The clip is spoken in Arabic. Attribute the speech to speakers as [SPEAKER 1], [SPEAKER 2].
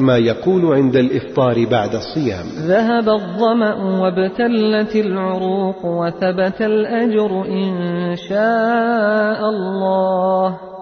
[SPEAKER 1] ما يكون عند الإفطار بعد الصيام
[SPEAKER 2] ذهب الظمأ وابتلت العروق وثبت الأجر إن شاء الله